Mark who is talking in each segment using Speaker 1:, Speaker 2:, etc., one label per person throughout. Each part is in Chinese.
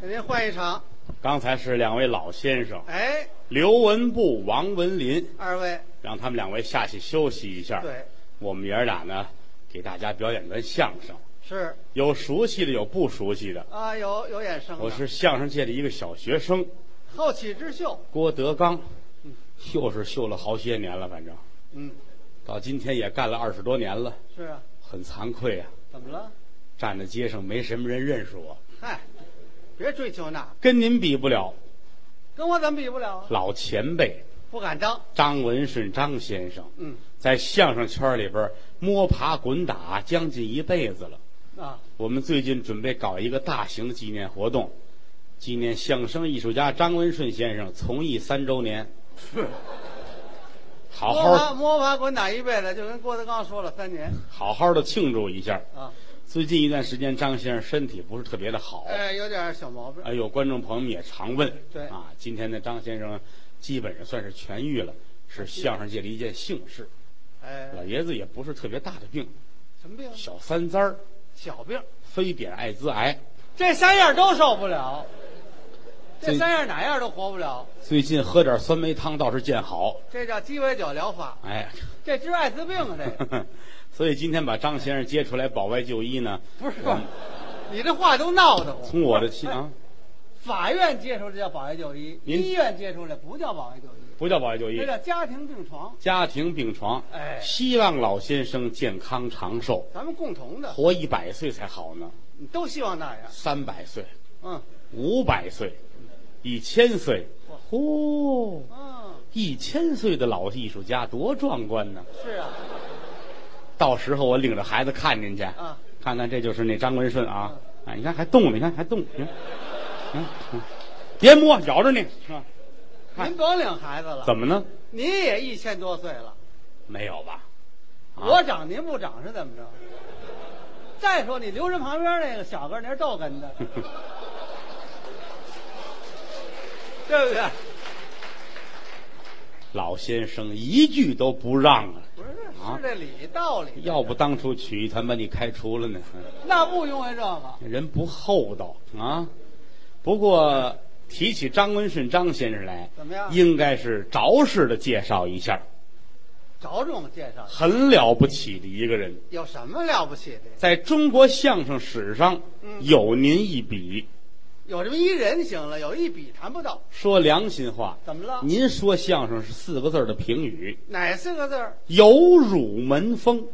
Speaker 1: 给您换一场。
Speaker 2: 刚才是两位老先生
Speaker 1: 哎，
Speaker 2: 刘文步、王文林，
Speaker 1: 二位，
Speaker 2: 让他们两位下去休息一下。
Speaker 1: 对，
Speaker 2: 我们爷儿俩呢，给大家表演段相声，
Speaker 1: 是
Speaker 2: 有熟悉的，有不熟悉的。
Speaker 1: 啊，有有衍生的。
Speaker 2: 我是相声界的一个小学生，
Speaker 1: 后起之秀，
Speaker 2: 郭德纲，秀是秀了好些年了，反正
Speaker 1: 嗯，
Speaker 2: 到今天也干了二十多年了，
Speaker 1: 是啊，
Speaker 2: 很惭愧啊，
Speaker 1: 怎么了？
Speaker 2: 站在街上没什么人认识我，
Speaker 1: 嗨，别追求那，
Speaker 2: 跟您比不了，
Speaker 1: 跟我怎么比不了啊？
Speaker 2: 老前辈
Speaker 1: 不敢当。
Speaker 2: 张文顺张先生。
Speaker 1: 嗯
Speaker 2: 在相声圈里边摸爬滚打将近一辈子了。
Speaker 1: 啊，
Speaker 2: 我们最近准备搞一个大型的纪念活动，纪念相声艺术家张文顺先生从艺三周年。好
Speaker 1: 摸爬
Speaker 2: 好
Speaker 1: 摸爬滚打一辈子，就跟郭德纲说了三年
Speaker 2: 好好的庆祝一下。
Speaker 1: 啊，
Speaker 2: 最近一段时间，张先生身体不是特别的好。
Speaker 1: 哎，有点小毛病。
Speaker 2: 哎呦，观众朋友们也常问，
Speaker 1: 对
Speaker 2: 啊，今天呢，张先生基本上算是痊愈了，是相声界的一件幸事。老
Speaker 1: 哎，
Speaker 2: 爷子也不是特别大的病，
Speaker 1: 什么病？
Speaker 2: 小三灾儿，
Speaker 1: 小病，
Speaker 2: 非典艾滋癌。
Speaker 1: 这三样都受不了，这
Speaker 2: 这
Speaker 1: 三样哪样都活不了，
Speaker 2: 最近喝点酸梅汤倒是见好，
Speaker 1: 这叫鸡尾酒疗法，
Speaker 2: 哎，
Speaker 1: 这治艾滋病啊，这个
Speaker 2: 所以今天把张先生接出来保外就医呢，
Speaker 1: 不是
Speaker 2: 我们，
Speaker 1: 你这话都闹得我。
Speaker 2: 从我的心啊，
Speaker 1: 法院接出来叫保外就医，
Speaker 2: 您
Speaker 1: 医院接出来不叫保外就医，
Speaker 2: 不叫保外就医
Speaker 1: 这，叫家庭病床，
Speaker 2: 家庭病床，
Speaker 1: 哎
Speaker 2: 希望老先生健康长寿，
Speaker 1: 咱们共同的，
Speaker 2: 活一百岁才好呢，
Speaker 1: 你都希望那样。
Speaker 2: 三百岁、
Speaker 1: 嗯
Speaker 2: 五百岁、一千岁，哦，
Speaker 1: 嗯，
Speaker 2: 一千岁的老艺术家多壮观呢！
Speaker 1: 是啊，
Speaker 2: 到时候我领着孩子看您去，
Speaker 1: 啊，
Speaker 2: 看看这就是那张文顺啊，啊，你看还动呢，你看还动，你看，嗯嗯，别摸，咬着你，是吧？看
Speaker 1: 您甭领孩子了，
Speaker 2: 怎么呢？
Speaker 1: 您也一千多岁了，
Speaker 2: 没有吧？啊
Speaker 1: 我长您不长是怎么着？再说你留神旁边那个小个儿，那是逗哏 的，对不
Speaker 2: 啊
Speaker 1: 对？
Speaker 2: 老先生一句都不让啊，
Speaker 1: 不是，
Speaker 2: 啊
Speaker 1: 是这理道理。
Speaker 2: 要不当初曲艺团把你开除了呢？嗯
Speaker 1: 那不因为这个，
Speaker 2: 人不厚道啊！不过提起张文顺张先生来，
Speaker 1: 怎么样
Speaker 2: 应该是着实的介绍一下，
Speaker 1: 着重介绍
Speaker 2: 很了不起的一个人。
Speaker 1: 有什么了不起的？
Speaker 2: 在中国相声史上，
Speaker 1: 嗯
Speaker 2: 有您一笔。
Speaker 1: 有这么一人行了，有一笔谈不到，
Speaker 2: 说良心话，
Speaker 1: 怎么了？
Speaker 2: 您说相声是四个字儿的评语，
Speaker 1: 哪四个字儿？
Speaker 2: 有辱门风。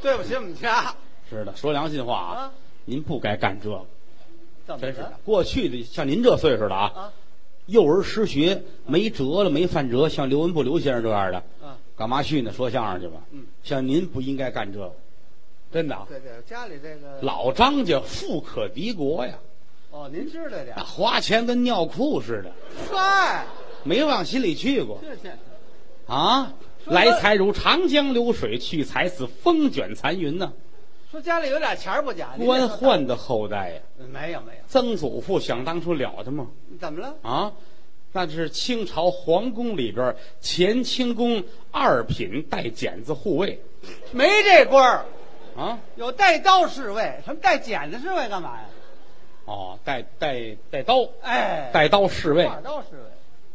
Speaker 1: 对不起，我们
Speaker 2: 啊
Speaker 1: 家
Speaker 2: 是的，说良心话啊，
Speaker 1: 啊
Speaker 2: 您不该干这个，
Speaker 1: 怎么
Speaker 2: 真是的
Speaker 1: 了？。
Speaker 2: 过去的像您这岁数的啊，
Speaker 1: 啊
Speaker 2: 幼儿失学没辙了，没饭辙，像刘文步刘先生这样的，
Speaker 1: 啊，
Speaker 2: 干嘛去呢？说相声去吧。
Speaker 1: 嗯，
Speaker 2: 像您不应该干这个，真的啊。
Speaker 1: 对对，家里这个
Speaker 2: 老张家富可敌国呀，
Speaker 1: 哦，您知道点
Speaker 2: 那
Speaker 1: 儿。
Speaker 2: 花钱跟尿裤似的，
Speaker 1: 嗨，
Speaker 2: 没往心里去过。
Speaker 1: 这这
Speaker 2: 啊，
Speaker 1: 说
Speaker 2: 来财如长江流水，去财似风卷残云呐、
Speaker 1: 说家里有点钱儿不假，您这
Speaker 2: 官宦的后代呀、
Speaker 1: 没有没有，
Speaker 2: 曾祖父想当初了得吗？
Speaker 1: 怎么了？
Speaker 2: 啊，那是清朝皇宫里边乾清宫二品带剪子护卫
Speaker 1: 没这官儿，
Speaker 2: 啊，
Speaker 1: 有带刀侍卫，什么带剪子侍卫干嘛呀？
Speaker 2: 哦，带带带刀，
Speaker 1: 哎，
Speaker 2: 带刀侍卫。
Speaker 1: 把刀侍卫。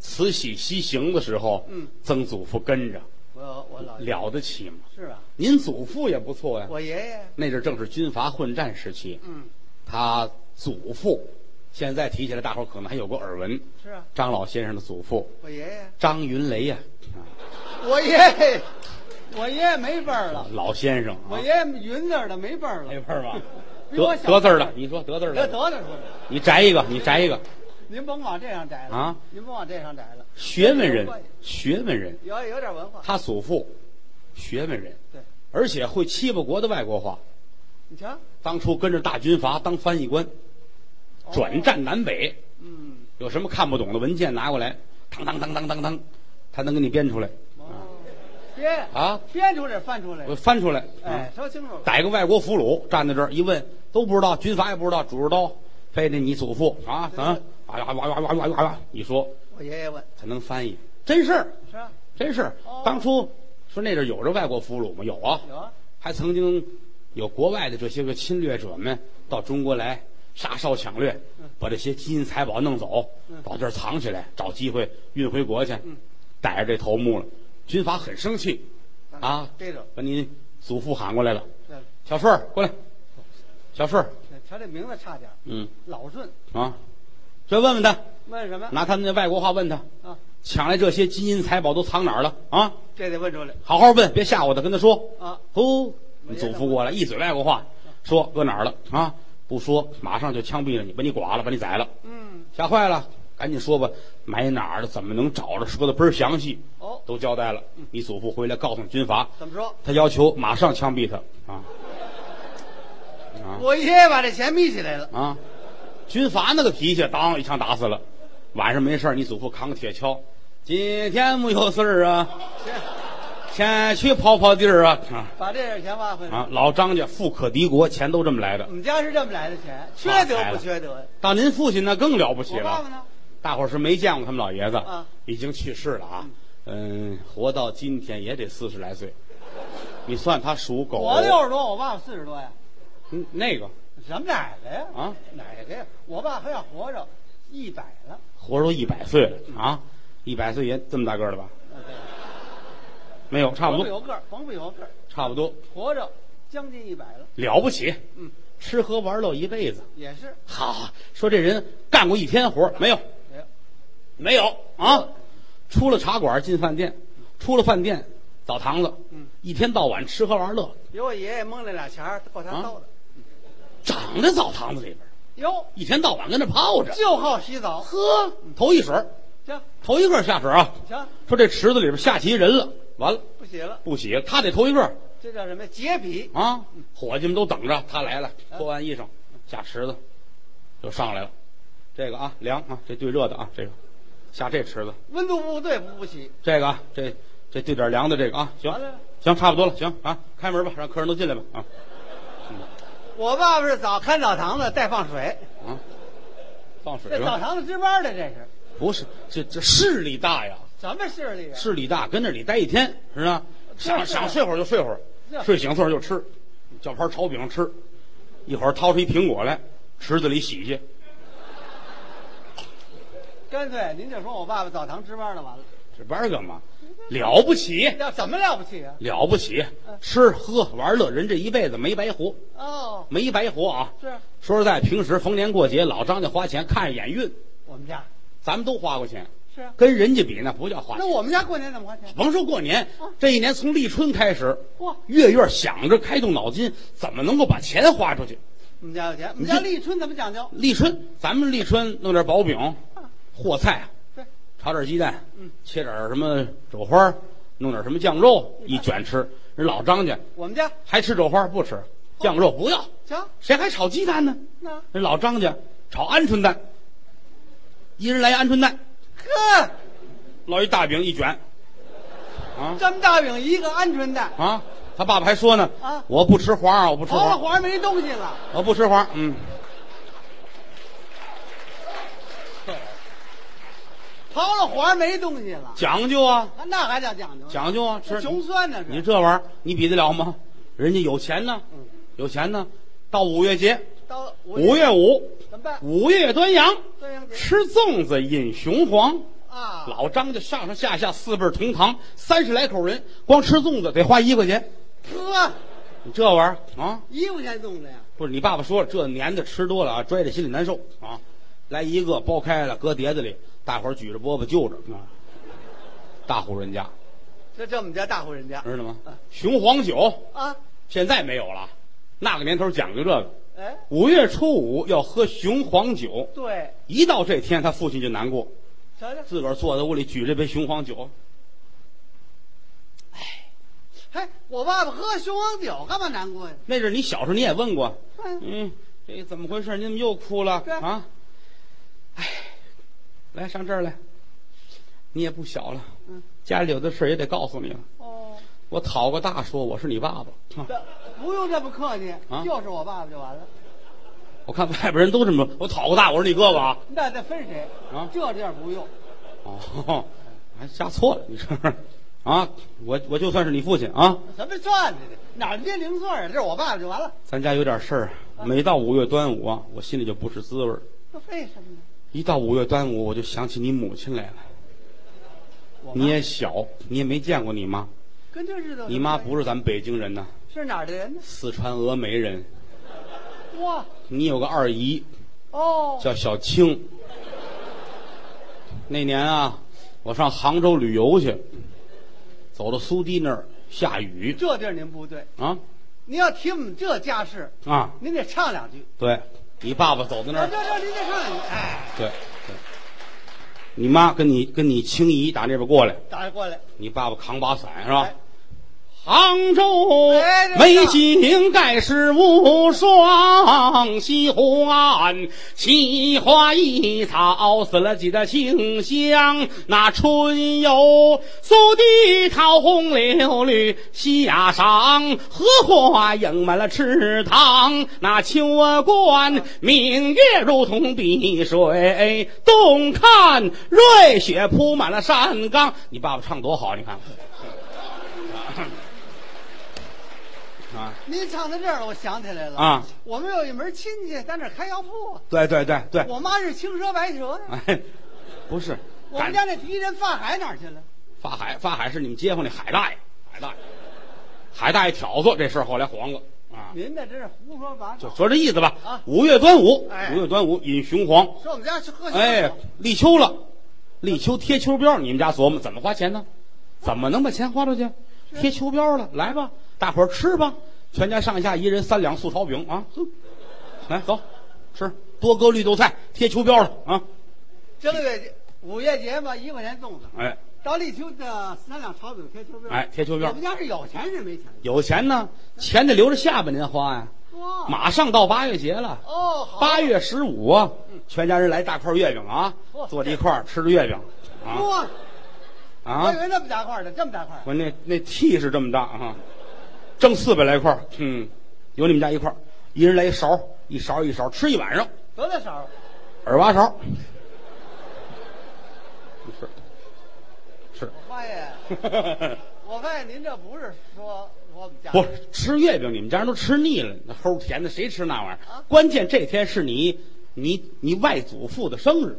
Speaker 2: 慈禧西行的时候，
Speaker 1: 嗯，
Speaker 2: 曾祖父跟着，
Speaker 1: 我我老
Speaker 2: 了得起吗？
Speaker 1: 是吧？
Speaker 2: 您祖父也不错呀、
Speaker 1: 我爷爷，
Speaker 2: 那阵儿正是军阀混战时期，
Speaker 1: 嗯，
Speaker 2: 他祖父，现在提起来大伙儿可能还有过耳闻，
Speaker 1: 是啊，
Speaker 2: 张老先生的祖父
Speaker 1: 我爷爷，
Speaker 2: 张云雷呀、啊
Speaker 1: 我爷爷，我爷爷没辈儿
Speaker 2: 啊
Speaker 1: 了，，
Speaker 2: 老先生
Speaker 1: 我
Speaker 2: 啊
Speaker 1: 爷，爷云字儿的没辈儿
Speaker 2: 那
Speaker 1: 了，
Speaker 2: 辈儿吧，
Speaker 1: 比我
Speaker 2: 得
Speaker 1: 小
Speaker 2: 得字儿的，你说得字儿
Speaker 1: 这
Speaker 2: 的，
Speaker 1: 得了说的，
Speaker 2: 你摘一个，你摘一个，
Speaker 1: 您甭往这上摘了
Speaker 2: 啊，
Speaker 1: 您甭往这上摘了，
Speaker 2: 学问
Speaker 1: 有关
Speaker 2: 人
Speaker 1: 系，
Speaker 2: 学问人，
Speaker 1: 有有点文化，
Speaker 2: 他祖父，学问人，
Speaker 1: 对，
Speaker 2: 而且会七八国的外国话，
Speaker 1: 你瞧，
Speaker 2: 当初跟着大军阀当翻译官，
Speaker 1: 哦
Speaker 2: 转，战南北，
Speaker 1: 嗯，
Speaker 2: 有什么看不懂的文件拿过来，当当当当当当，他能给你编出来
Speaker 1: 哦，编
Speaker 2: 啊，
Speaker 1: 编出来翻出来
Speaker 2: 我，翻出来，啊
Speaker 1: 哎，说清楚了，
Speaker 2: 逮个外国俘虏站在这儿一问都不知道，军阀也不知道，主着刀，非得你祖父啊啊啊呀哇哇哇哇哇哇！一说
Speaker 1: 我爷爷问，
Speaker 2: 才能翻译，真事儿，
Speaker 1: 是啊，
Speaker 2: 真事儿
Speaker 1: 哦。
Speaker 2: 当初说那阵儿有这外国俘虏吗？有啊，
Speaker 1: 有啊，
Speaker 2: 还曾经有国外的这些个侵略者们到中国来杀烧抢掠，把这些金银财宝弄走，到这儿藏起来，找机会运回国去，逮着这头目了。军阀很生气，啊，
Speaker 1: 逮着，
Speaker 2: 把你祖父喊过来了，
Speaker 1: 对
Speaker 2: 小顺儿过来，小顺儿，
Speaker 1: 对瞧这名字差点儿，
Speaker 2: 嗯
Speaker 1: 老顺，
Speaker 2: 啊，这问问他，
Speaker 1: 问什么
Speaker 2: 拿他们那外国话问他，
Speaker 1: 啊？
Speaker 2: 抢来这些金银财宝都藏哪儿了啊？
Speaker 1: 这得问出来
Speaker 2: 好好问，别吓唬他，跟他说。
Speaker 1: 啊！
Speaker 2: 哦，你祖父过来，一嘴外国话，说搁哪儿了啊？不说，马上就枪毙了你，把你剐了，把你宰了，
Speaker 1: 嗯，
Speaker 2: 吓坏了，赶紧说吧，埋哪儿了？怎么能找着？说的倍儿详细，
Speaker 1: 哦，
Speaker 2: 都交代了。你祖父回来告诉军阀，
Speaker 1: 怎么说？
Speaker 2: 他要求马上枪毙他啊啊
Speaker 1: 我爷把这钱眯起来了，
Speaker 2: 啊！军阀那个脾气，当一枪打死了。晚上没事儿你祖父扛个铁锹，今天没有事儿啊，
Speaker 1: 行，
Speaker 2: 先去跑跑地儿啊啊！
Speaker 1: 把这点钱挖回来。
Speaker 2: 啊，老张家富可敌国，钱都这么来的
Speaker 1: 我。们家是这么来的钱，缺德不缺德呀？
Speaker 2: 到您父亲那更了不起
Speaker 1: 我爸爸
Speaker 2: 了，
Speaker 1: 呢？
Speaker 2: 大伙儿是没见过他们老爷子，
Speaker 1: 啊
Speaker 2: 已经去世了啊，嗯，活到今天也得四十来岁，你算他属狗，
Speaker 1: 我六十多，我爸爸四十多呀。
Speaker 2: 嗯那个
Speaker 1: 什么哪个呀？
Speaker 2: 啊，
Speaker 1: 哪个呀？我爸还要活着，一百了。
Speaker 2: 活都一百岁了啊，一百岁也这么大个儿了吧？
Speaker 1: 啊对，
Speaker 2: 没有，差不
Speaker 1: 甭有
Speaker 2: 多，
Speaker 1: 个儿，甭有个儿，
Speaker 2: 差不多，
Speaker 1: 活着将近一百了。
Speaker 2: 了不起，
Speaker 1: 嗯，
Speaker 2: 吃喝玩乐一辈子。
Speaker 1: 也是。
Speaker 2: 好，说这人干过一天活儿没有？
Speaker 1: 哎呀
Speaker 2: 没有啊，出了茶馆进饭店，出了饭店澡堂子，
Speaker 1: 嗯
Speaker 2: 一天到晚吃喝玩乐，
Speaker 1: 有我爷爷蒙了俩钱儿，够
Speaker 2: 啊
Speaker 1: 他兜的。
Speaker 2: 长在澡堂子里边，
Speaker 1: 哟，
Speaker 2: 一天到晚跟那泡着，
Speaker 1: 就好洗澡。
Speaker 2: 呵，头一水儿，
Speaker 1: 行
Speaker 2: 头一个下水啊，
Speaker 1: 行，
Speaker 2: 说这池子里边下齐人了，完了
Speaker 1: 不洗了，
Speaker 2: 不洗，他得头一个
Speaker 1: 这叫什么呀？洁癖。
Speaker 2: 啊，伙计们都等着他来了，
Speaker 1: 嗯
Speaker 2: 脱完衣裳下池子，就上来了，这个啊凉啊，这兑热的啊，这个下这池子，
Speaker 1: 温度不对不不洗。
Speaker 2: 这个啊这这兑点凉的这个啊，行
Speaker 1: 完了
Speaker 2: 行差不多了，行啊，开门吧，让客人都进来吧啊。
Speaker 1: 我爸爸是早看澡堂子，再放水。
Speaker 2: 啊，放水
Speaker 1: 这澡
Speaker 2: 吧？
Speaker 1: 堂子值班的这是
Speaker 2: 不是，这这势力大呀，
Speaker 1: 什么势力啊？
Speaker 2: 势力大，跟这里待一天，是吧？
Speaker 1: 这
Speaker 2: 想
Speaker 1: 是
Speaker 2: 想睡会儿就睡会儿，
Speaker 1: 这
Speaker 2: 睡醒自个儿就吃，叫盘炒饼吃，一会儿掏出一苹果来，池子里洗去。
Speaker 1: 干脆您就说我爸爸澡堂值班的完了，
Speaker 2: 这玩意儿干嘛？了不起，
Speaker 1: 要怎么了不起啊？
Speaker 2: 了不起！吃喝玩乐，人这一辈子没白活，
Speaker 1: 哦，
Speaker 2: 没白活啊！
Speaker 1: 是
Speaker 2: 说实在，平时逢年过节，老张家花钱看着眼运，
Speaker 1: 我们家
Speaker 2: 咱们都花过钱，
Speaker 1: 是啊。
Speaker 2: 跟人家比那不叫花
Speaker 1: 那
Speaker 2: 钱。
Speaker 1: 我们家过年怎么花钱？
Speaker 2: 甭说过年
Speaker 1: 啊，
Speaker 2: 这一年从立春开始，
Speaker 1: 嚯，
Speaker 2: 月月想着开动脑筋，怎么能够把钱花出去？
Speaker 1: 我们家有钱。我们
Speaker 2: 你
Speaker 1: 家
Speaker 2: 这
Speaker 1: 立春怎么讲究？
Speaker 2: 立春，咱们立春弄点薄饼、和菜，啊
Speaker 1: 对，
Speaker 2: 炒点鸡蛋
Speaker 1: 嗯，
Speaker 2: 切点什么肘花，弄点什么酱肉，
Speaker 1: 嗯
Speaker 2: 一卷吃。人老张家
Speaker 1: 我们家
Speaker 2: 还吃肘花不
Speaker 1: 哦
Speaker 2: 吃，酱肉不要，
Speaker 1: 行，
Speaker 2: 谁还炒鸡蛋呢？
Speaker 1: 那
Speaker 2: 人老张家炒鹌鹑蛋，一人来一鹌鹑蛋，
Speaker 1: 呵，
Speaker 2: 烙一大饼一 卷，啊
Speaker 1: 这么大饼一个鹌鹑蛋，
Speaker 2: 啊！他爸爸还说呢，
Speaker 1: 啊哦
Speaker 2: 我不吃花儿，我不吃
Speaker 1: 刨了
Speaker 2: 花儿，
Speaker 1: 黄没东西了。
Speaker 2: 我不吃花儿，嗯。
Speaker 1: 刨了黄没东西了，
Speaker 2: 讲究啊，
Speaker 1: 啊那还叫讲究？
Speaker 2: 讲究啊，吃
Speaker 1: 这穷酸呢
Speaker 2: 你
Speaker 1: 是？
Speaker 2: 这玩意儿你比得了吗？人家有钱呢，
Speaker 1: 嗯
Speaker 2: 有钱呢。到五月节，
Speaker 1: 到
Speaker 2: 五月五，
Speaker 1: 怎么办？
Speaker 2: 五月端阳，
Speaker 1: 端阳节
Speaker 2: 吃粽子，饮雄黄。
Speaker 1: 啊，
Speaker 2: 老张家上上下下四辈儿同堂，三十来口人，光吃粽子得花一块钱。
Speaker 1: 呵，
Speaker 2: 你这玩意儿啊，
Speaker 1: 一块钱粽子呀？
Speaker 2: 不是你爸爸说了，这年的吃多了啊，拽着心里难受啊。来一个剥开了，搁碟子里，大伙儿举着饽饽就着啊。大户人家
Speaker 1: 这这我们家大户人家
Speaker 2: 知道吗
Speaker 1: 嗯？
Speaker 2: 雄黄酒，
Speaker 1: 啊，
Speaker 2: 现在没有了，那个年头讲究这个。
Speaker 1: 哎，
Speaker 2: 五月初五要喝雄黄酒，
Speaker 1: 对，
Speaker 2: 一到这天，他父亲就难过，
Speaker 1: 瞧瞧，
Speaker 2: 自个儿坐在屋里举着杯雄黄酒，
Speaker 1: 嘿，我爸爸喝雄黄酒干嘛难过呀？
Speaker 2: 那阵儿你小时候你也问过，
Speaker 1: 哎
Speaker 2: 嗯，这怎么回事？你怎么又哭了
Speaker 1: 对
Speaker 2: 啊？哎，来上这儿来，你也不小了，
Speaker 1: 嗯
Speaker 2: 家里有的事儿也得告诉你了。
Speaker 1: 哦，
Speaker 2: 我讨个大说我是你爸爸，啊
Speaker 1: 这不用这么客气
Speaker 2: 啊，
Speaker 1: 就是我爸爸就完了。
Speaker 2: 我看外边人都这么，我讨个大我是你哥哥啊，
Speaker 1: 那得分谁
Speaker 2: 啊
Speaker 1: 这地儿不用，
Speaker 2: 哦，还加错了，你是不是？啊，我我就算是你父亲啊，
Speaker 1: 什么算着的？哪儿捏零碎啊？这是我爸爸就完了。
Speaker 2: 咱家有点事儿啊。每到五月端午啊，我心里就不是滋味儿。
Speaker 1: 那为什么呢？
Speaker 2: 一到五月端午，我就想起你母亲来了。
Speaker 1: 我妈
Speaker 2: 你也小，你也没见过你妈。
Speaker 1: 跟这日子有什么关系，
Speaker 2: 你妈不是咱们北京人呐，
Speaker 1: 是哪儿的人呢？
Speaker 2: 四川峨眉人。
Speaker 1: 哇，
Speaker 2: 你有个二姨
Speaker 1: 哦，
Speaker 2: 叫小青。那年啊，我上杭州旅游去，走到苏堤那儿下雨
Speaker 1: 这地儿您不对，
Speaker 2: 啊
Speaker 1: 您要提我们这家世，
Speaker 2: 啊！
Speaker 1: 您得唱两句。
Speaker 2: 对，你爸爸走到那
Speaker 1: 啊，
Speaker 2: 儿
Speaker 1: 这，这您得唱两句。哎，
Speaker 2: 对对，你妈跟你跟你青姨打那边过来，
Speaker 1: 打过来，
Speaker 2: 你爸爸扛把伞是吧
Speaker 1: 哎？
Speaker 2: 杭州
Speaker 1: 哎这
Speaker 2: 美景盖世无双，西湖岸奇花异草，死了几的清香。那春游苏堤桃红柳绿，夏赏荷花映满了池塘。那秋观明月如同碧水，冬看瑞雪铺满了山岗。你爸爸唱多好，你看。啊，
Speaker 1: 您唱到这儿了，我想起来了
Speaker 2: 啊！
Speaker 1: 我们有一门亲戚在那儿开药铺啊，
Speaker 2: 对对对对，
Speaker 1: 我妈是青蛇白蛇呀。
Speaker 2: 哎， 不是，
Speaker 1: 我们家那敌人发海哪儿去了？
Speaker 2: 法海，法海是你们街坊那海大爷，海大爷，海大爷挑唆这事儿，后来黄了啊，
Speaker 1: 您那真是胡说八
Speaker 2: 就
Speaker 1: 道。
Speaker 2: 说这意思吧。
Speaker 1: 啊
Speaker 2: 五月端午，
Speaker 1: 哎
Speaker 2: 五月端午饮雄黄，
Speaker 1: 说我们家去喝
Speaker 2: 哎
Speaker 1: 酒，，
Speaker 2: 立秋了，立秋贴秋膘，你们家琢磨怎么花钱呢？怎么能把钱花出去？贴秋膘了，来吧，大伙儿吃吧，全家上下一人三两素炒饼啊，哼来走，吃，多搁绿豆菜，贴秋膘了啊，
Speaker 1: 正月节五月节嘛，一块钱粽子，
Speaker 2: 哎
Speaker 1: 到立秋的呃三两炒饼贴秋膘。
Speaker 2: 哎，贴秋
Speaker 1: 我
Speaker 2: 膘
Speaker 1: 们。家是有钱人没钱人。
Speaker 2: 有钱呢，钱得留着下半年花呀、
Speaker 1: 哇，
Speaker 2: 马上到八月节了，
Speaker 1: 哦，好
Speaker 2: 八月十五啊，全家人来大块月饼啊
Speaker 1: 哇，
Speaker 2: 坐在一块儿吃着月饼，啊
Speaker 1: 哇，我以
Speaker 2: 啊！
Speaker 1: 为那么大块儿的，这么大块儿。
Speaker 2: 我那那屉是这么大啊，挣四百来块儿，嗯，有你们家一块儿，一人来一勺，一勺一勺吃一晚上，
Speaker 1: 多大勺？
Speaker 2: 耳挖勺， 吃吃，
Speaker 1: 发现， 我发现您这不是说我们家
Speaker 2: 不是吃月饼，你们家人都吃腻了，那齁甜的，谁吃那玩意儿
Speaker 1: 啊？
Speaker 2: 关键这天是你你你外祖父的生日，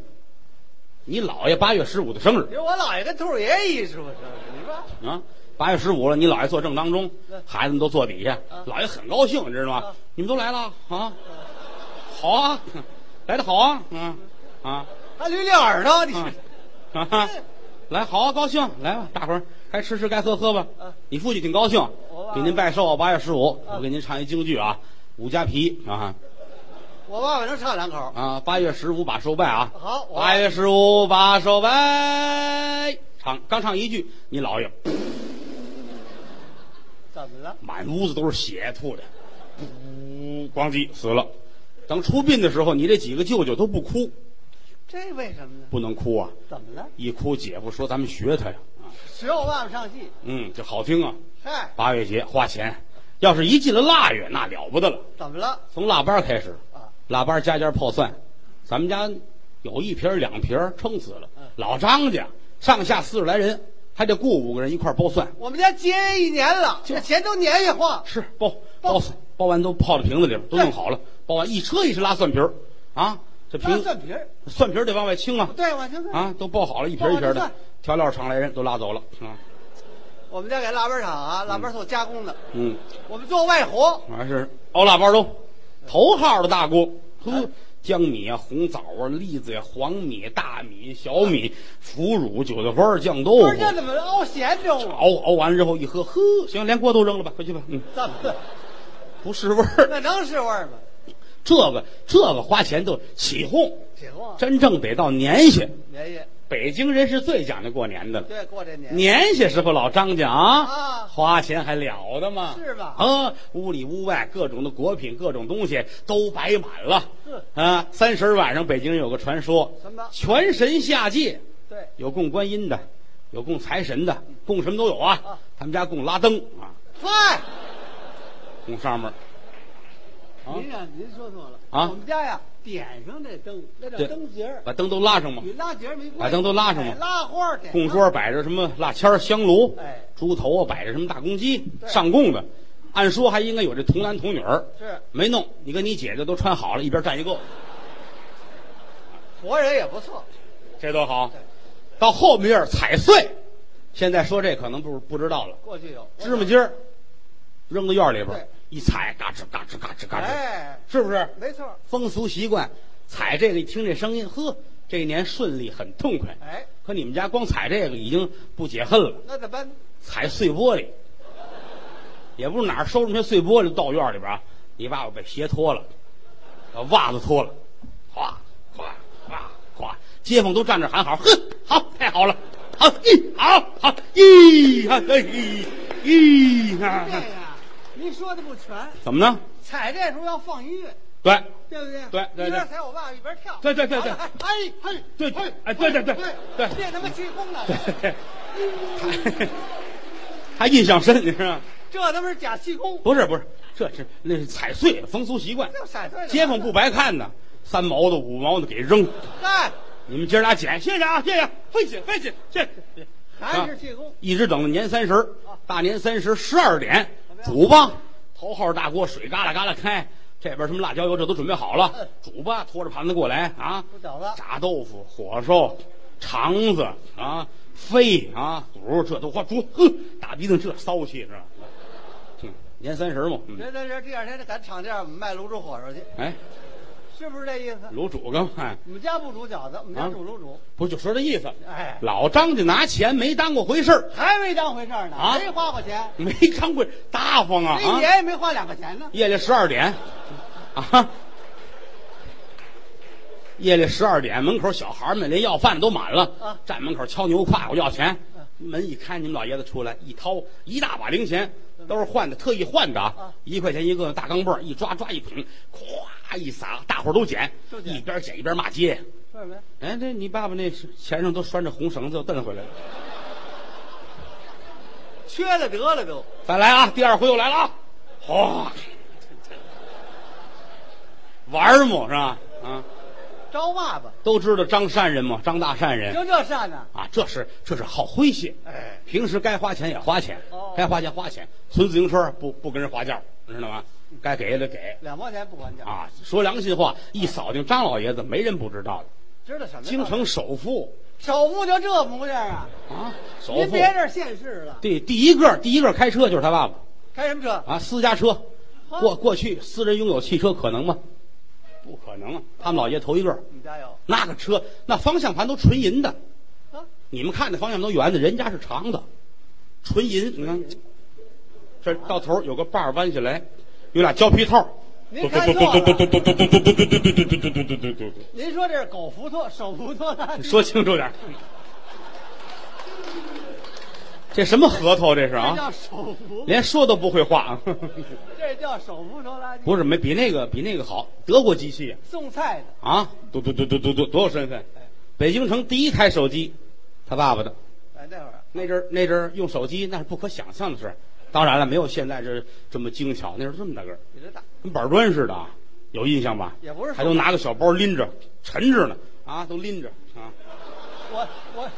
Speaker 2: 你姥爷八月十五的生
Speaker 1: 你
Speaker 2: 日
Speaker 1: 说我姥爷跟兔儿爷一出生，你说
Speaker 2: 啊，八月十五了，你姥爷坐正当中
Speaker 1: 嗯，
Speaker 2: 孩子们都坐底下
Speaker 1: 啊，
Speaker 2: 姥爷很高兴，你知道吗
Speaker 1: 啊？
Speaker 2: 你们都来了啊，好啊， 来的好啊，嗯啊
Speaker 1: 还捋捋耳朵，你
Speaker 2: 啊 啊，来好啊，高兴，来吧，大伙儿该吃吃，该喝喝吧
Speaker 1: 啊。
Speaker 2: 你父亲挺高兴
Speaker 1: 我，吧
Speaker 2: 给您拜寿，八月十五，
Speaker 1: 啊
Speaker 2: 我给您唱一京剧啊，《武家皮》啊。
Speaker 1: 我爸爸能唱两口。
Speaker 2: 啊，八月十五把寿拜啊！
Speaker 1: 好我
Speaker 2: 八月十五把寿拜。唱刚唱一句，你姥爷
Speaker 1: 怎么了？
Speaker 2: 满屋子都是血，吐的，呜，咣叽死了。等出殡的时候，你这几个舅舅都不哭，
Speaker 1: 这为什么呢？
Speaker 2: 不能哭啊！
Speaker 1: 怎么了？
Speaker 2: 一哭，姐夫说咱们学他呀，啊
Speaker 1: 只有我爸爸上戏。
Speaker 2: 嗯，这好听啊。
Speaker 1: 嗨，
Speaker 2: 八月节花钱，要是一进了腊月，那了不得了。
Speaker 1: 怎么了？
Speaker 2: 从腊八开始
Speaker 1: 啊，
Speaker 2: 腊八家家泡蒜，咱们家有一瓶儿两瓶儿撑死了
Speaker 1: 嗯。
Speaker 2: 老张家上下四十来人，还得雇五个人一块儿剥蒜，
Speaker 1: 我们家节约一年了，这钱都年月化。
Speaker 2: 是剥
Speaker 1: 剥
Speaker 2: 剥蒜，剥完都泡到瓶子里边，都弄好了，剥完一车一车拉蒜皮儿，啊，这
Speaker 1: 那
Speaker 2: 瓶
Speaker 1: 蒜皮儿，
Speaker 2: 蒜皮儿得往外清啊，
Speaker 1: 对，我听
Speaker 2: 啊，都剥好了，一瓶儿一瓶儿
Speaker 1: 剥完
Speaker 2: 的
Speaker 1: 就，
Speaker 2: 调料厂来人都拉走了，啊，
Speaker 1: 我们家给腊八厂啊，腊八做加工的，
Speaker 2: 嗯，哦
Speaker 1: 我们做外活。
Speaker 2: 完是熬腊八粥，头号的大锅，呵，江米啊、红枣啊、栗子呀、黄米、大米、小米、腐乳、韭菜花儿、酱豆
Speaker 1: 不
Speaker 2: 腐
Speaker 1: 是，这怎么凹咸啊这种？
Speaker 2: 熬熬完之后一喝，呵，行，连锅都扔了吧，回去吧，嗯，
Speaker 1: 怎么了？
Speaker 2: 不是味儿。
Speaker 1: 那能是味儿吗？
Speaker 2: 这个这个花钱都起哄，
Speaker 1: 起哄，
Speaker 2: 真正得到年下，
Speaker 1: 啊爷爷，
Speaker 2: 北京人是最讲究过年的了。
Speaker 1: 对，过这年
Speaker 2: 年下时候老张家啊，
Speaker 1: 啊
Speaker 2: 花钱还了得吗？
Speaker 1: 是吧
Speaker 2: 啊，屋里屋外各种的果品、各种东西都摆满了
Speaker 1: 是。
Speaker 2: 啊，三十晚上北京人有个传说，
Speaker 1: 什么
Speaker 2: 全神下界，
Speaker 1: 对，
Speaker 2: 有供观音的，有供财神的，供什么都有啊。
Speaker 1: 啊
Speaker 2: 他们家供拉登啊，
Speaker 1: 嗨，
Speaker 2: 供上面啊
Speaker 1: 您呀，您说错了
Speaker 2: 啊
Speaker 1: 我们家呀，点上这灯，那叫
Speaker 2: 对
Speaker 1: 灯节儿，
Speaker 2: 把灯都拉上嘛，
Speaker 1: 与拉节儿没关系。
Speaker 2: 把灯都拉上嘛
Speaker 1: 哎拉花儿点
Speaker 2: 供桌摆着什么蜡签儿、香炉，
Speaker 1: 哎
Speaker 2: 猪头啊摆着什么大公鸡，
Speaker 1: 对
Speaker 2: 上供的。按说还应该有这童男童女儿，
Speaker 1: 是
Speaker 2: 没弄。你跟你姐姐都穿好了，一边站一个，
Speaker 1: 活人也不错。
Speaker 2: 这多好
Speaker 1: 对。
Speaker 2: 到后面儿踩碎，现在说这可能不不知道了。
Speaker 1: 过去有
Speaker 2: 芝麻，筋儿扔到院里边儿
Speaker 1: 对，
Speaker 2: 一踩，嘎吱嘎吱嘎吱嘎吱，
Speaker 1: 哎，
Speaker 2: 是不是？
Speaker 1: 没错儿，
Speaker 2: 风俗习惯，踩这个一听这声音，呵，这一年顺利，很痛快。
Speaker 1: 哎，
Speaker 2: 可你们家光踩这个已经不解恨了，
Speaker 1: 那怎么 办？
Speaker 2: 踩碎玻璃，也不是哪儿收拾那些碎玻璃到院里边啊。你爸爸把鞋脱了，把袜子脱了，哗哗哗哗，街坊都站着喊好，哼，好，太好了，好，咦，好好，咦，啊哎，咦，
Speaker 1: 这个
Speaker 2: 啊
Speaker 1: 呀您说的不全，
Speaker 2: 怎么呢？
Speaker 1: 踩这时候要放音乐，
Speaker 2: 对，
Speaker 1: 对不对？
Speaker 2: 对对对
Speaker 1: 一边踩我爸一边跳。
Speaker 2: 对对对对
Speaker 1: 完了还嘿嘿，
Speaker 2: 对
Speaker 1: 嘿
Speaker 2: 哎对对对
Speaker 1: 嘿
Speaker 2: 对
Speaker 1: 这他妈气功呢，
Speaker 2: 他他印象深，你知道吗？
Speaker 1: 这他妈是假气功，
Speaker 2: 不是不是，这是那是踩碎了风俗习惯，
Speaker 1: 这闪退
Speaker 2: 街坊不白看呢，三毛的五毛的给扔。
Speaker 1: 干，
Speaker 2: 你们今儿俩捡，谢谢啊，谢谢，费气费气，谢谢。谢谢
Speaker 1: 还
Speaker 2: 啊
Speaker 1: 是气功。
Speaker 2: 一直等到年三十儿，大年三十十二点
Speaker 1: 啊怎么样
Speaker 2: 煮吧，头号大锅水嘎啦嘎啦开，这边什么辣椒油这都准备好了
Speaker 1: 嗯，
Speaker 2: 煮吧，拖着盘子过来啊，
Speaker 1: 煮饺子
Speaker 2: 炸豆腐、火烧、肠子啊、肺啊、骨这都花煮，哼，大鼻子这骚气是吧？嗯年三十嘛，嗯
Speaker 1: 这这这第二天赶厂店，我们卖卤煮火烧去，
Speaker 2: 哎，
Speaker 1: 是不是这意思？
Speaker 2: 卤煮干嘛？哎
Speaker 1: 我们家不煮饺子，我们家
Speaker 2: 啊
Speaker 1: 煮卤煮。
Speaker 2: 不就说这意思？
Speaker 1: 哎，
Speaker 2: 老张家拿钱没当过回事儿，
Speaker 1: 还没当回事儿呢，
Speaker 2: 啊
Speaker 1: 没花过钱，
Speaker 2: 没当过大方啊
Speaker 1: 这一
Speaker 2: 啊！
Speaker 1: 年也没花两块钱呢。
Speaker 2: 夜里十二点，啊，夜里十二点，门口小孩儿们连要饭的都满了，
Speaker 1: 啊
Speaker 2: 站门口敲牛胯，我要钱
Speaker 1: 嗯。
Speaker 2: 门一开，你们老爷子出来，一掏一大把零钱，都是换的，特意换的啊
Speaker 1: 啊，
Speaker 2: 一块钱一个大钢镚儿，一抓抓一捧，咵一撒，大伙儿都捡
Speaker 1: 都，捡
Speaker 2: 一边捡一边骂街。
Speaker 1: 说什么呀？
Speaker 2: 哎，这你爸爸那是钱上都拴着红绳子，又蹬回来了。
Speaker 1: 缺了得了都。
Speaker 2: 再来啊，第二回又来了啊，哗，玩儿嘛是吧？啊，
Speaker 1: 招骂吧，
Speaker 2: 都知道张善人嘛，张大善人
Speaker 1: 就这善呢？
Speaker 2: 啊，这是这是好诙谐。
Speaker 1: 哎，
Speaker 2: 平时该花钱也花钱
Speaker 1: 哦，
Speaker 2: 该花钱花钱，存自行车不不跟人划价，你知道吗？该给也得给
Speaker 1: 两毛钱不管讲，
Speaker 2: 啊。说良心话，一扫听张老爷子，没人不知道的。
Speaker 1: 知道什么呀？
Speaker 2: 京城首富
Speaker 1: 首富就这模样啊！
Speaker 2: 啊，首
Speaker 1: 您
Speaker 2: 富
Speaker 1: 别这儿现世了，
Speaker 2: 对第一个第一个开车就是他爸爸
Speaker 1: 开什么车？
Speaker 2: 啊，私家车。
Speaker 1: 啊
Speaker 2: 过过去私人拥有汽车可能吗？不可能啊！他们老爷头一个，
Speaker 1: 我们家有
Speaker 2: 那个车那方向盘都纯银的，
Speaker 1: 啊，
Speaker 2: 你们看的方向都圆的，人家是长的，纯银。你看，这到头有个把儿弯下来，有俩胶皮套。
Speaker 1: 您看错了。
Speaker 2: 嘟
Speaker 1: 您说这是狗福特、手福特呢？
Speaker 2: 说清楚点。这什么核桃？这是
Speaker 1: 这
Speaker 2: 啊，
Speaker 1: 叫手福，
Speaker 2: 连说都不会话。啊
Speaker 1: 这叫手扶手垃圾。
Speaker 2: 不是没比那个比那个好，德国机器
Speaker 1: 送菜的，
Speaker 2: 啊，嘟嘟嘟嘟嘟嘟，多有身份！北京城第一台手机，他爸爸的。
Speaker 1: 哎，那会儿
Speaker 2: 那阵儿那阵儿用手机那是不可想象的事儿，当然了，没有现在这这么精巧，那时候这么大个儿，
Speaker 1: 比这大，
Speaker 2: 跟板砖似的，啊，有印象吧？
Speaker 1: 也不是
Speaker 2: 还都拿个小包拎着，沉着呢啊，都拎着啊。
Speaker 1: 我我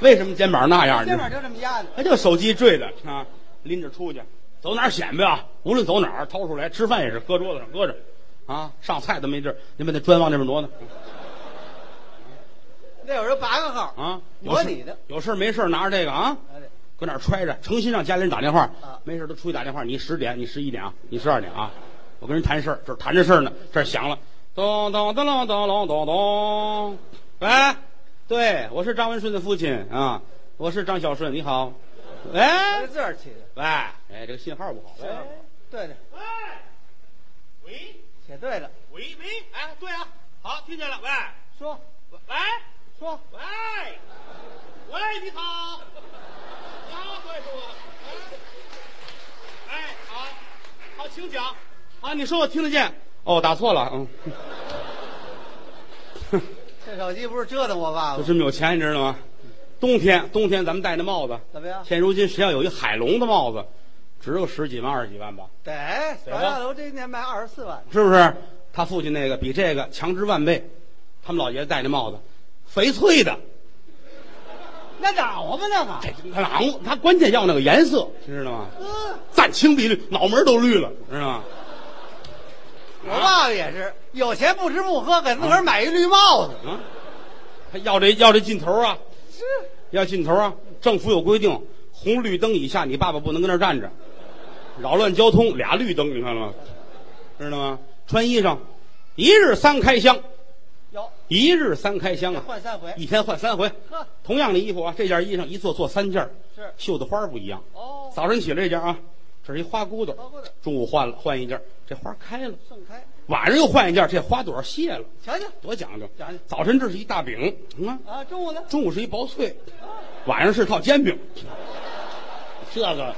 Speaker 2: 为什么肩膀那样？
Speaker 1: 肩膀就这么压的，
Speaker 2: 那哎就手机坠的啊，拎着出去，走哪儿显摆啊？无论走哪儿，掏出来吃饭也是搁桌子上搁着，啊，上菜都没地儿，您把那砖往那边挪挪
Speaker 1: 那有人拔个号
Speaker 2: 啊。有
Speaker 1: 模
Speaker 2: 事
Speaker 1: 拟的。
Speaker 2: 有事儿没事儿拿着这个啊。
Speaker 1: 哎对
Speaker 2: 搁那儿揣着，诚心让家里人打电话。
Speaker 1: 啊
Speaker 2: 没事儿都出去打电话。你十点，你十一点啊，你十二点啊，我跟人谈事儿，这儿谈着事儿呢，这儿响了，咚咚咚咚咚咚咚咚，喂，对我是张文顺的父亲啊，我是张小顺，你好，喂
Speaker 1: 这是自个儿起的。
Speaker 2: 喂，哎，这个信号不好，喂，
Speaker 1: 哎，对的，
Speaker 2: 喂，喂
Speaker 1: 写对了。
Speaker 2: 喂喂，哎，对啊，好，听见了，喂
Speaker 1: 说
Speaker 2: 喂
Speaker 1: 说，
Speaker 2: 喂喂，你好，你好，对，是我，哎，哎，好，好，请讲，啊，你说我听得见，哦，打错了，嗯，
Speaker 1: 这手机不是折腾我爸
Speaker 2: 就
Speaker 1: 吗？
Speaker 2: 这么有钱，你知道吗？冬天，冬天咱们戴那帽子，
Speaker 1: 怎么样？
Speaker 2: 现如今谁要有一海龙的帽子，只有十几万、二十几万吧，
Speaker 1: 对，
Speaker 2: 对吧
Speaker 1: 白大楼这一年卖二十四万，
Speaker 2: 是不是？他父亲那个比这个强之万倍。他们老爷子戴那帽子，翡翠的，
Speaker 1: 那哪我们那个？
Speaker 2: 这朗他关键要那个颜色，知道吗？
Speaker 1: 嗯，
Speaker 2: 赞青碧绿，脑门儿都绿了，知道吗？
Speaker 1: 我爸爸也是有钱不吃不喝，给自个儿买一绿帽子。
Speaker 2: 啊，他要这要这劲头啊，
Speaker 1: 是，
Speaker 2: 要劲头啊！政府有规定，红绿灯以下，你爸爸不能跟那儿站着，扰乱交通。俩绿灯，你看了吗？知道吗？穿衣裳，一日三开箱，
Speaker 1: 有
Speaker 2: 一日三开箱啊，
Speaker 1: 换三回。
Speaker 2: 一天换三回。
Speaker 1: 呵，
Speaker 2: 同样的衣服啊，这件衣裳一做做三件儿，
Speaker 1: 是
Speaker 2: 绣的花儿不一样。
Speaker 1: 哦，
Speaker 2: 早晨起来这件啊，这是一花骨朵儿，
Speaker 1: 包括的
Speaker 2: 中午换了换一件儿，这花开了；
Speaker 1: 盛开，
Speaker 2: 晚上又换一件儿，这花朵儿谢了，
Speaker 1: 瞧瞧
Speaker 2: 多讲究！
Speaker 1: 讲究
Speaker 2: 早晨这是一大饼，嗯啊，
Speaker 1: 啊，中午呢？
Speaker 2: 中午是一薄脆，晚上是套煎饼。这个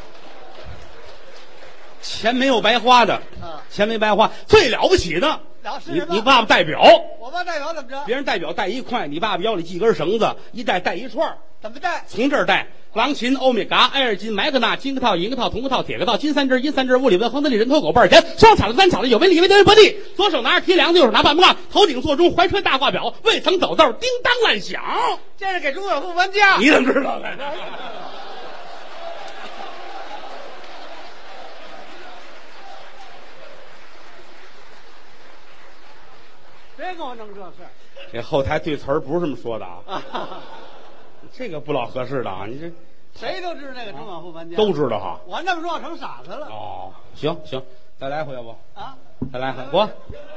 Speaker 2: 钱没有白花的，
Speaker 1: 啊，
Speaker 2: 钱没白花，最了不起的，
Speaker 1: 了是
Speaker 2: 你
Speaker 1: 什么
Speaker 2: 你爸爸代表，
Speaker 1: 我爸代表怎么着？
Speaker 2: 别人代表带一块，你爸爸腰里系根绳子，一带带一串儿
Speaker 1: 怎么带？
Speaker 2: 从这儿带。狼琴、欧米伽、埃尔金、麦克纳、金个套、银个套、铜个套、铁个套、金三只、银三只、物理文、横的里、人头狗、贝儿钱、双草的、单草的、有为里为德为伯地。左手拿着提梁子，右手拿半木杠，头顶座钟，怀揣大挂表，未曾走豆，叮当乱响。
Speaker 1: 这是给钟小富搬家。
Speaker 2: 你怎么知道的？
Speaker 1: 别跟我弄这事儿
Speaker 2: 这后台对词儿不是这么说的啊，
Speaker 1: 啊！
Speaker 2: 这个不老合适的啊，你这
Speaker 1: 谁都知道那个钟小富搬家，
Speaker 2: 都知道哈。
Speaker 1: 我那么说我成傻子了
Speaker 2: 哦，行行，再来一回要不？
Speaker 1: 啊！
Speaker 2: 再来一回，我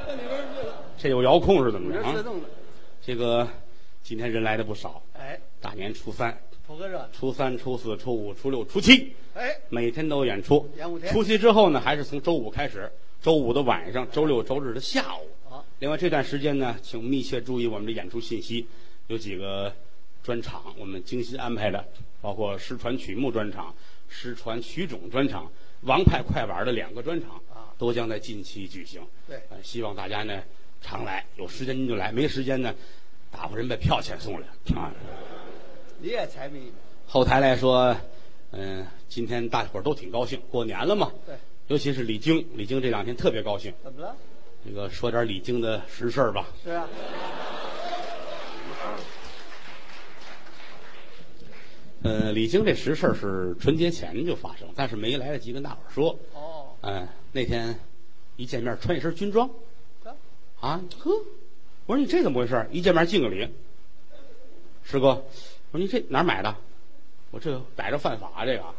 Speaker 1: 这里边是
Speaker 2: 这有遥控是怎
Speaker 1: 你
Speaker 2: 么
Speaker 1: 这
Speaker 2: 着
Speaker 1: 自
Speaker 2: 啊？
Speaker 1: 动的，
Speaker 2: 这个今天人来的不少，
Speaker 1: 哎，
Speaker 2: 大年初三、
Speaker 1: 图个热闹，
Speaker 2: 初三、初四、初五、初六、初七，
Speaker 1: 哎，
Speaker 2: 每天都有演出
Speaker 1: 演五。天
Speaker 2: 除夕之后呢，还是从周五开始，周五的晚上，周六、周日的下午。
Speaker 1: 好，
Speaker 2: 另外这段时间呢，请密切注意我们的演出信息，有几个专场我们精心安排的，包括失传曲目专场、失传曲种专场、王牌快板的两个专场
Speaker 1: 啊，
Speaker 2: 都将在近期举行。
Speaker 1: 对
Speaker 2: 呃希望大家呢常来，有时间您就来，没时间呢，大伙人把票钱送来啊。
Speaker 1: 你也财迷，
Speaker 2: 后台来说，嗯、今天大伙儿都挺高兴，过年了嘛，
Speaker 1: 对，
Speaker 2: 尤其是李菁，李菁这两天特别高兴。
Speaker 1: 怎么了？
Speaker 2: 这个说点李菁的实事儿吧，
Speaker 1: 是啊，
Speaker 2: 呃，李菁这实事儿是春节前就发生，但是没来得及跟大伙儿说。
Speaker 1: 哦，
Speaker 2: 嗯、那天一见面穿一身军装
Speaker 1: 得
Speaker 2: 啊，呵，我说你这怎么回事儿？一见面敬个礼，师哥，我说你这哪儿买的？我这逮着犯法啊这个啊，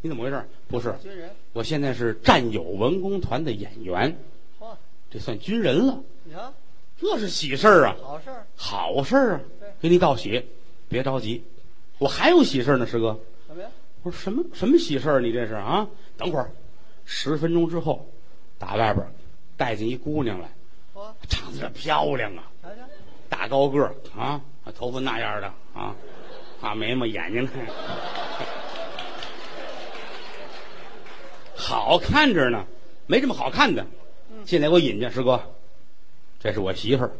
Speaker 2: 你怎么回事儿？不是，
Speaker 1: 哦军人，
Speaker 2: 我现在是战友文工团的演员，
Speaker 1: 嚯，
Speaker 2: 这算军人了，
Speaker 1: 你瞧，
Speaker 2: 这是喜事儿啊，
Speaker 1: 好事儿，
Speaker 2: 好事儿啊
Speaker 1: 对，
Speaker 2: 给你道喜，别着急，我还有喜事儿呢，师哥。
Speaker 1: 怎么样？
Speaker 2: 我说什么什么喜事儿？你这是啊？等会儿，十分钟之后，打外边儿带进一姑娘来，
Speaker 1: 嚯，
Speaker 2: 长得这漂亮啊，
Speaker 1: 瞧瞧，
Speaker 2: 大高个儿啊，头发那样的啊，大眉毛眼睛，好看着呢，没这么好看的。进来给我引去，师哥，这是我媳妇儿。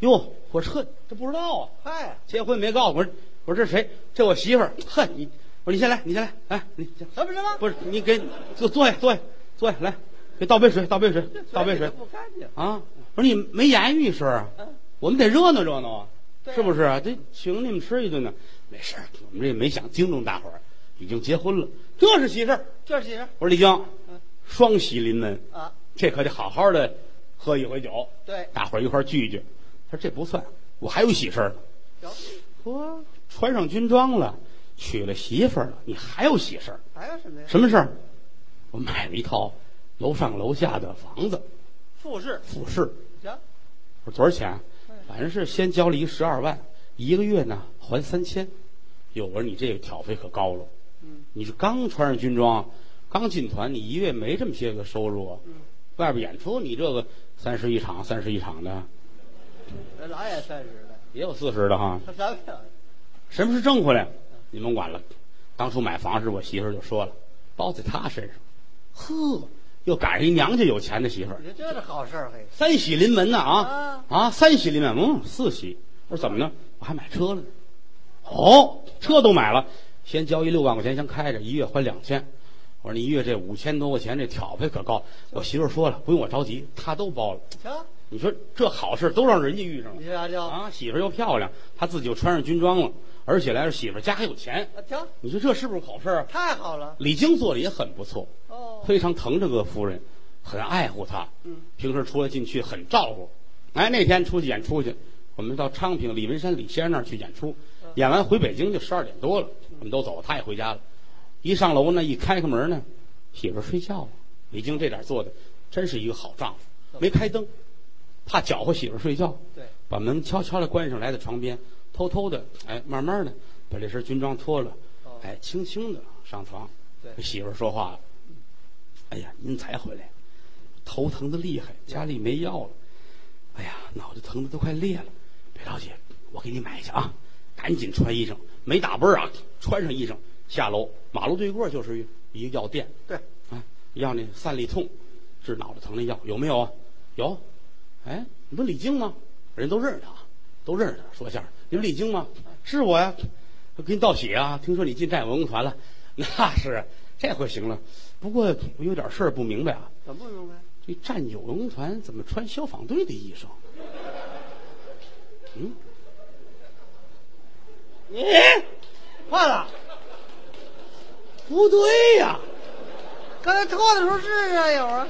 Speaker 2: 哟，我说这这不知道啊，
Speaker 1: 嗨，
Speaker 2: 结婚没告诉我，我说这谁？这我媳妇儿。呵，你我说你先来，你先来，来啊你先。
Speaker 1: 什么什么？
Speaker 2: 不是，你给坐坐下，坐下，坐下，来，给倒杯水，倒杯水，倒杯水
Speaker 1: 不干净，
Speaker 2: 啊！不是你没言语是啊
Speaker 1: 嗯，
Speaker 2: 我们得热闹热闹啊，
Speaker 1: 对啊
Speaker 2: 是不是啊？得请你们吃一顿呢。没事儿，我们这也没想惊动大伙儿，已经结婚了，这是喜事儿。
Speaker 1: 就是几人
Speaker 2: 我说李菁
Speaker 1: 嗯，
Speaker 2: 双喜临门，
Speaker 1: 啊？
Speaker 2: 这可得好好的喝一回酒，
Speaker 1: 对，
Speaker 2: 大伙儿一块儿聚一聚。他说这不算，我还有喜事儿呢。
Speaker 1: 有，
Speaker 2: 我穿上军装了，娶了媳妇儿了，你还有喜事儿？
Speaker 1: 还有什么呀？
Speaker 2: 什么事儿？我买了一套楼上楼下的房子，
Speaker 1: 复试，
Speaker 2: 复式。
Speaker 1: 行，
Speaker 2: 我说多少钱啊
Speaker 1: 嗯？
Speaker 2: 反正是先交了一十二万，一个月呢还三千。哟，我说你这个挑费可高了，
Speaker 1: 嗯，
Speaker 2: 你是刚穿上军装，刚进团，你一月没这么些个收入啊。
Speaker 1: 嗯
Speaker 2: 外边演出你这个三十一场，三十一场的
Speaker 1: 这哪也三十了，
Speaker 2: 也有四十的哈。
Speaker 1: 他什么呀？
Speaker 2: 什么是挣回来？你甭管了。当初买房时，我媳妇儿就说了，包在她身上。呵，又赶上一娘家有钱的媳妇儿，
Speaker 1: 你说这是好事儿嘿？
Speaker 2: 三喜临门呢
Speaker 1: 哦
Speaker 2: 啊啊！三喜临门，嗯，四喜。我说怎么呢？我还买车了呢。哦，车都买了，先交一六万块钱，先开着，一月还两千。我说你一月这五千多块钱，这挑费可高。我媳妇儿说了，不用我着急，她都包了。
Speaker 1: 瞧，
Speaker 2: 你说这好事都让人家遇上
Speaker 1: 你
Speaker 2: 了
Speaker 1: 这家叫
Speaker 2: 啊！媳妇儿又漂亮，她自己又穿上军装了，而且来说媳妇儿家还有钱。
Speaker 1: 啊，瞧，
Speaker 2: 你说这是不是好事儿啊？
Speaker 1: 太好了
Speaker 2: 李菁做的也很不错，
Speaker 1: 哦，
Speaker 2: 非常疼这个夫人，很爱护她。
Speaker 1: 嗯，
Speaker 2: 平时出来进去很照顾。哎，那天出去演出去，我们到昌平李文山李先生那儿去演出，演完回北京就十二点多了，我们都走，他也回家了。一上楼呢，一开开门呢，媳妇儿睡觉了。李菁这点做的真是一个好丈夫，没开灯，怕搅和媳妇儿睡觉，
Speaker 1: 对，
Speaker 2: 把门悄悄的关上，来到床边，偷偷的，哎，慢慢的把这身军装脱了，
Speaker 1: 哦，
Speaker 2: 哎，轻轻的上床。
Speaker 1: 对
Speaker 2: 这媳妇儿说话了：“哎呀，您才回来，头疼的厉害，家里没药了。哎呀，脑袋疼的都快裂了。别着急，我给你买去啊，赶紧穿衣裳，没打啵儿啊，穿上衣裳下楼，马路对过就是一一个药店，
Speaker 1: 对，
Speaker 2: 啊，要那散利痛，治脑袋疼的药有没有啊？有。哎，你不李菁吗？人都认识他，都认识他。说相声，你不李菁吗？是我呀。我给你道喜啊！听说你进战友文工团了， 那是啊这回行了。不过我有点事儿不明白啊，
Speaker 1: 怎么不明白？
Speaker 2: 这战友文工团怎么穿消防队的衣裳？嗯，你
Speaker 1: 换了，
Speaker 2: 不对呀、
Speaker 1: 刚才脱的时候是啊，有啊，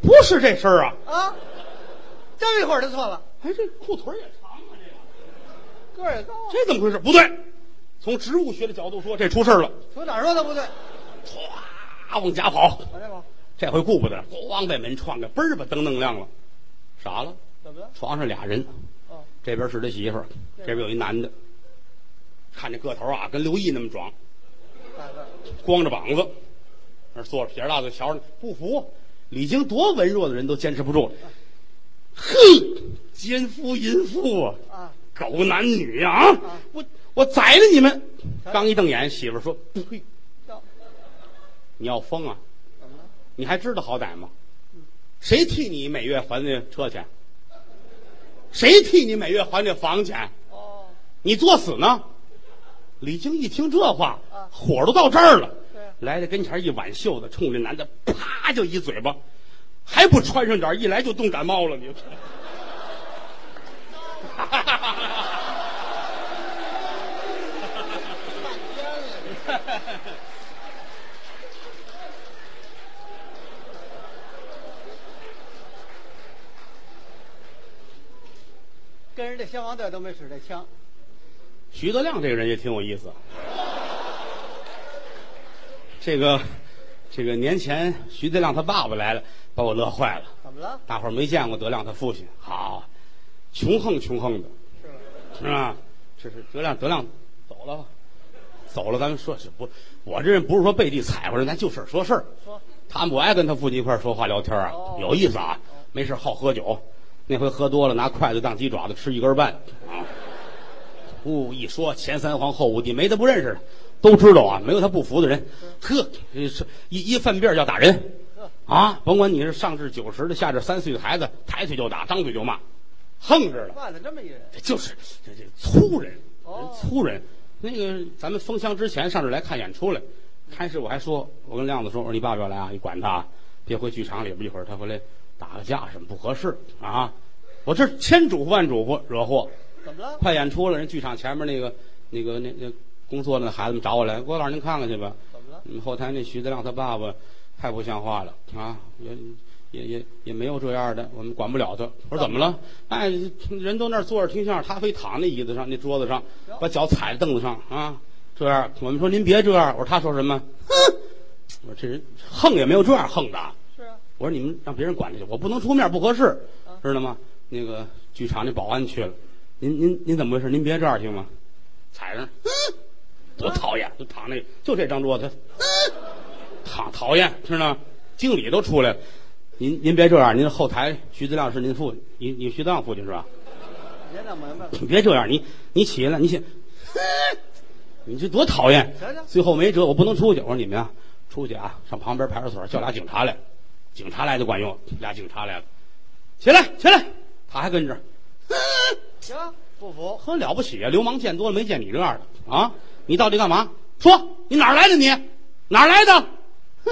Speaker 2: 不是这事儿啊！
Speaker 1: 啊，这么一会儿就错了，
Speaker 2: 哎，这裤腿儿也长啊，这个。
Speaker 1: 个儿也高啊，
Speaker 2: 这怎么回事？不对，从植物学的角度说，这出事儿了。
Speaker 1: 从哪儿说的不对？
Speaker 2: 唰，往家跑，
Speaker 1: 往这跑，
Speaker 2: 这回顾不得了，咣把门撞开，嘣儿吧灯弄亮了，傻了。
Speaker 1: 怎么了？
Speaker 2: 床上俩人，
Speaker 1: 哦，
Speaker 2: 这边是他媳妇儿，这边有一男的，看这个头啊，跟刘毅那么壮，
Speaker 1: 咋的？
Speaker 2: 光着膀子，那儿坐着撇着大嘴瞧着，不服。李菁多文弱的人都坚持不住了，哼，奸夫淫妇啊！
Speaker 1: 啊，
Speaker 2: 狗男女啊！我我宰了你们！刚一瞪眼，媳妇儿说：“呸，
Speaker 1: 叫
Speaker 2: 你要疯啊？
Speaker 1: 怎么了？
Speaker 2: 你还知道好歹吗？谁替你每月还那车钱？谁替你每月还这房钱？
Speaker 1: 哦，
Speaker 2: 你作死呢？”李菁一听这话
Speaker 1: 啊，
Speaker 2: 火都到这儿了
Speaker 1: 对啊，
Speaker 2: 来到跟前一挽袖子，冲这男的啪就一嘴巴，还不穿上点儿，一来就冻感冒了，你。
Speaker 1: 跟人这消防队都没使这枪，
Speaker 2: 徐德亮这个人也挺有意思。这个，这个年前徐德亮他爸爸来了，把我乐坏了。
Speaker 1: 怎么了？
Speaker 2: 大伙儿没见过德亮他父亲，好，穷横穷横的，
Speaker 1: 是吧？
Speaker 2: 是吧？这是德亮，德亮走了吧？走了，咱们说是不？我这人不是说背地踩回来，咱就事儿说事儿。
Speaker 1: 说，
Speaker 2: 他们不爱跟他父亲一块儿说话聊天啊
Speaker 1: 哦，
Speaker 2: 有意思啊。没事好喝酒，那回喝多了拿筷子当鸡爪子吃一根半啊。呜、一说前三皇后五帝没他不认识的，都知道啊，没有他不服的人。呵，这是一一犯病儿要打人
Speaker 1: 呵
Speaker 2: 啊，甭管你是上至九十的，下至三岁的孩子，抬腿就打，张嘴就骂，横着了。
Speaker 1: 办了这么一人，
Speaker 2: 这就是这这粗人，人
Speaker 1: 哦
Speaker 2: 粗人。那个咱们封箱之前上这儿来看演出来，开始我还说，我跟亮子说，我说你爸爸要来啊，你管他啊，别回剧场里边，一会儿他回来打个架什么不合适啊。我这千嘱咐万嘱咐，惹祸。
Speaker 1: 怎么了？
Speaker 2: 快演出了，人剧场前面那个那个那那工作的孩子们找我来，郭老师您看看去吧。
Speaker 1: 怎么了？
Speaker 2: 你们嗯后台那徐德亮他爸爸太不像话了啊，也也也也没有这样的，我们管不了他。我说怎么了？哎，人都那儿坐着听相声，他非躺那椅子上、那桌子上，把脚踩在凳子上啊，这样。我们说您别这样。我说他说什么？哼！我说这人横也没有这样横的啊。
Speaker 1: 是啊，
Speaker 2: 我说你们让别人管着去，我不能出面，不合适
Speaker 1: 啊，
Speaker 2: 知道吗？那个剧场那保安去了，您您您怎么回事？您别这样行吗？踩上，嗯，多讨厌！就躺那，就这张桌子，嗯，躺讨厌，知道吗？经理都出来了，您您别这样，您后台徐德亮是您父亲，你你徐德亮父亲是吧？
Speaker 1: 你先弄明白了，
Speaker 2: 你别这样，你你起来，你起，你这多讨厌
Speaker 1: 瞧瞧！
Speaker 2: 最后没辙，我不能出去。我说你们啊，出去啊，上旁边派出所叫俩警察来，警察来就管用。俩警察来了，起来，起来，他还跟着，
Speaker 1: 行，不服，
Speaker 2: 很了不起啊！流氓见多了，没见你这样的啊！你到底干嘛？说你哪儿来的你？哪儿来的？哼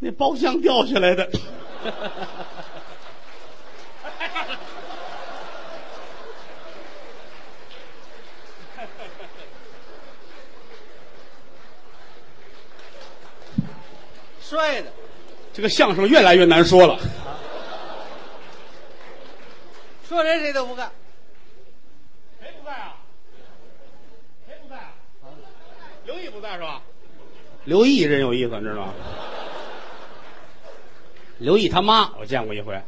Speaker 2: 那包厢掉下来的。
Speaker 1: 摔的，
Speaker 2: 这个相声越来越难说了。
Speaker 1: 说谁谁都不干。
Speaker 2: 谁不在啊？谁不在啊？刘毅不在是吧？刘毅真有意思，你知道吗？刘毅他妈我见过一回，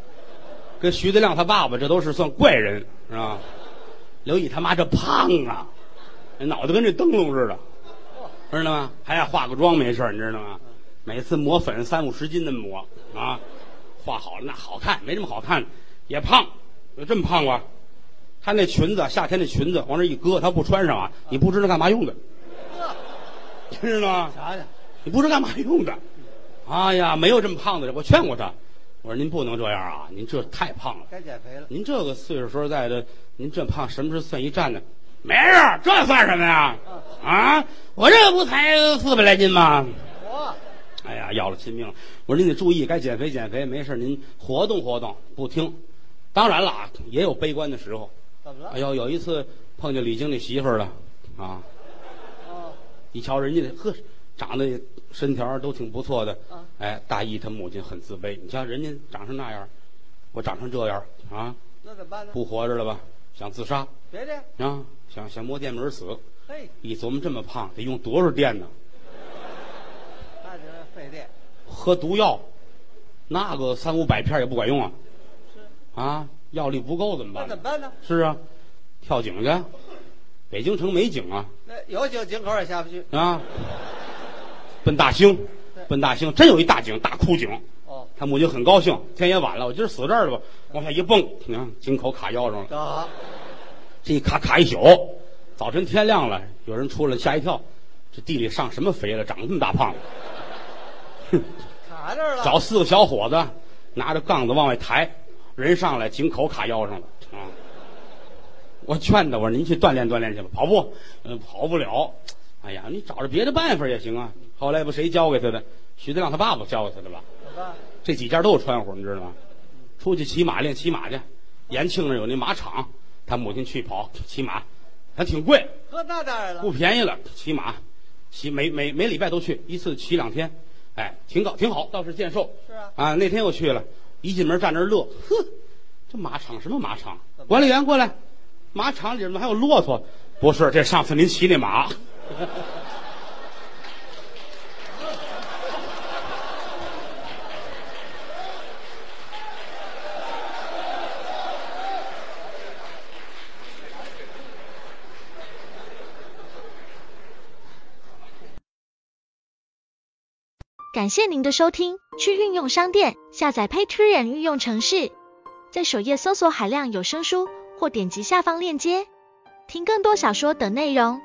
Speaker 2: 跟徐德亮他爸爸这都是算怪人，是吧？刘毅他妈这胖啊，脑袋跟这灯笼似的，知道吗？还要化个妆没事儿你知道吗？每次抹粉三五十斤那么抹啊，化好了那好看，没什么好看，也胖，有这么胖过？他那裙子，夏天那裙子往这一搁，他不穿上啊，你不知道干嘛用的，你知道吗？
Speaker 1: 瞧瞧，
Speaker 2: 你不知道干嘛用的。哎呀，没有这么胖的人，我劝过他，我说您不能这样啊，您这太胖了，
Speaker 1: 该减肥了。
Speaker 2: 您这个岁数说实在的，您这胖什么时候算一站呢？没事儿，这算什么呀？啊，我这不才四百来斤吗？
Speaker 1: 我
Speaker 2: 哎呀，要了亲命了！我说您得注意，该减肥减肥，没事儿您活动活动。不听，当然了啊，也有悲观的时候。
Speaker 1: 怎么了
Speaker 2: 哎？呦，有一次碰见李经理媳妇儿了，啊，
Speaker 1: 哦，
Speaker 2: 一瞧人家这呵，长得身条都挺不错的
Speaker 1: 嗯，
Speaker 2: 哎，大姨她母亲很自卑。你瞧人家长成那样，我长成这样啊，
Speaker 1: 那怎么办呢？
Speaker 2: 不活着了吧？想自杀
Speaker 1: 别这样，
Speaker 2: 啊，想想摸电门死。
Speaker 1: 嘿，
Speaker 2: 一琢磨这么胖，得用多少电呢？
Speaker 1: 那就是费电。
Speaker 2: 喝毒药，那个三五百片也不管用啊，啊，药力不够怎么
Speaker 1: 那
Speaker 2: 办
Speaker 1: 怎
Speaker 2: 呢？
Speaker 1: 么办呢？
Speaker 2: 是啊，跳井去，北京城没井啊。
Speaker 1: 那有井井口也下不去。
Speaker 2: 啊，奔大兴
Speaker 1: 对，
Speaker 2: 奔大兴，真有一大井，大枯井。
Speaker 1: 哦，
Speaker 2: 他母亲很高兴，天也晚了，我今儿死这儿了吧？往下一蹦，你看井口卡腰上了，
Speaker 1: 正好，
Speaker 2: 这一卡卡一宿。早晨天亮了，有人出来吓一跳，这地里上什么肥了，长这么大胖子？
Speaker 1: 卡那儿了。
Speaker 2: 找四个小伙子拿着杠子往外抬，人上来井口卡腰上了啊！我劝他，我说您去锻炼锻炼去吧，跑步，嗯，跑不了。哎呀，你找着别的办法也行啊。后来不谁教给他的？徐德亮他爸爸教给他的吧？
Speaker 1: 怎么办？
Speaker 2: 这几家都有穿户，你知道吗？出去骑马练骑马去，延庆那有那马场，他母亲去跑骑马，还挺贵，
Speaker 1: 呵，那当然了。
Speaker 2: 不便宜了，骑马，骑每每每礼拜都去一次，骑两天，哎，挺高挺好，倒是健瘦。
Speaker 1: 是啊，
Speaker 2: 啊，那天又去了，一进门站那儿乐，哼，这马场什么马场？管理员过来，马场里面还有骆驼？不是，这上次您骑那马。
Speaker 3: 感谢您的收听，去运用商店下载 Patreon 运用城市，在首页搜索海量有声书，或点击下方链接听更多小说等内容。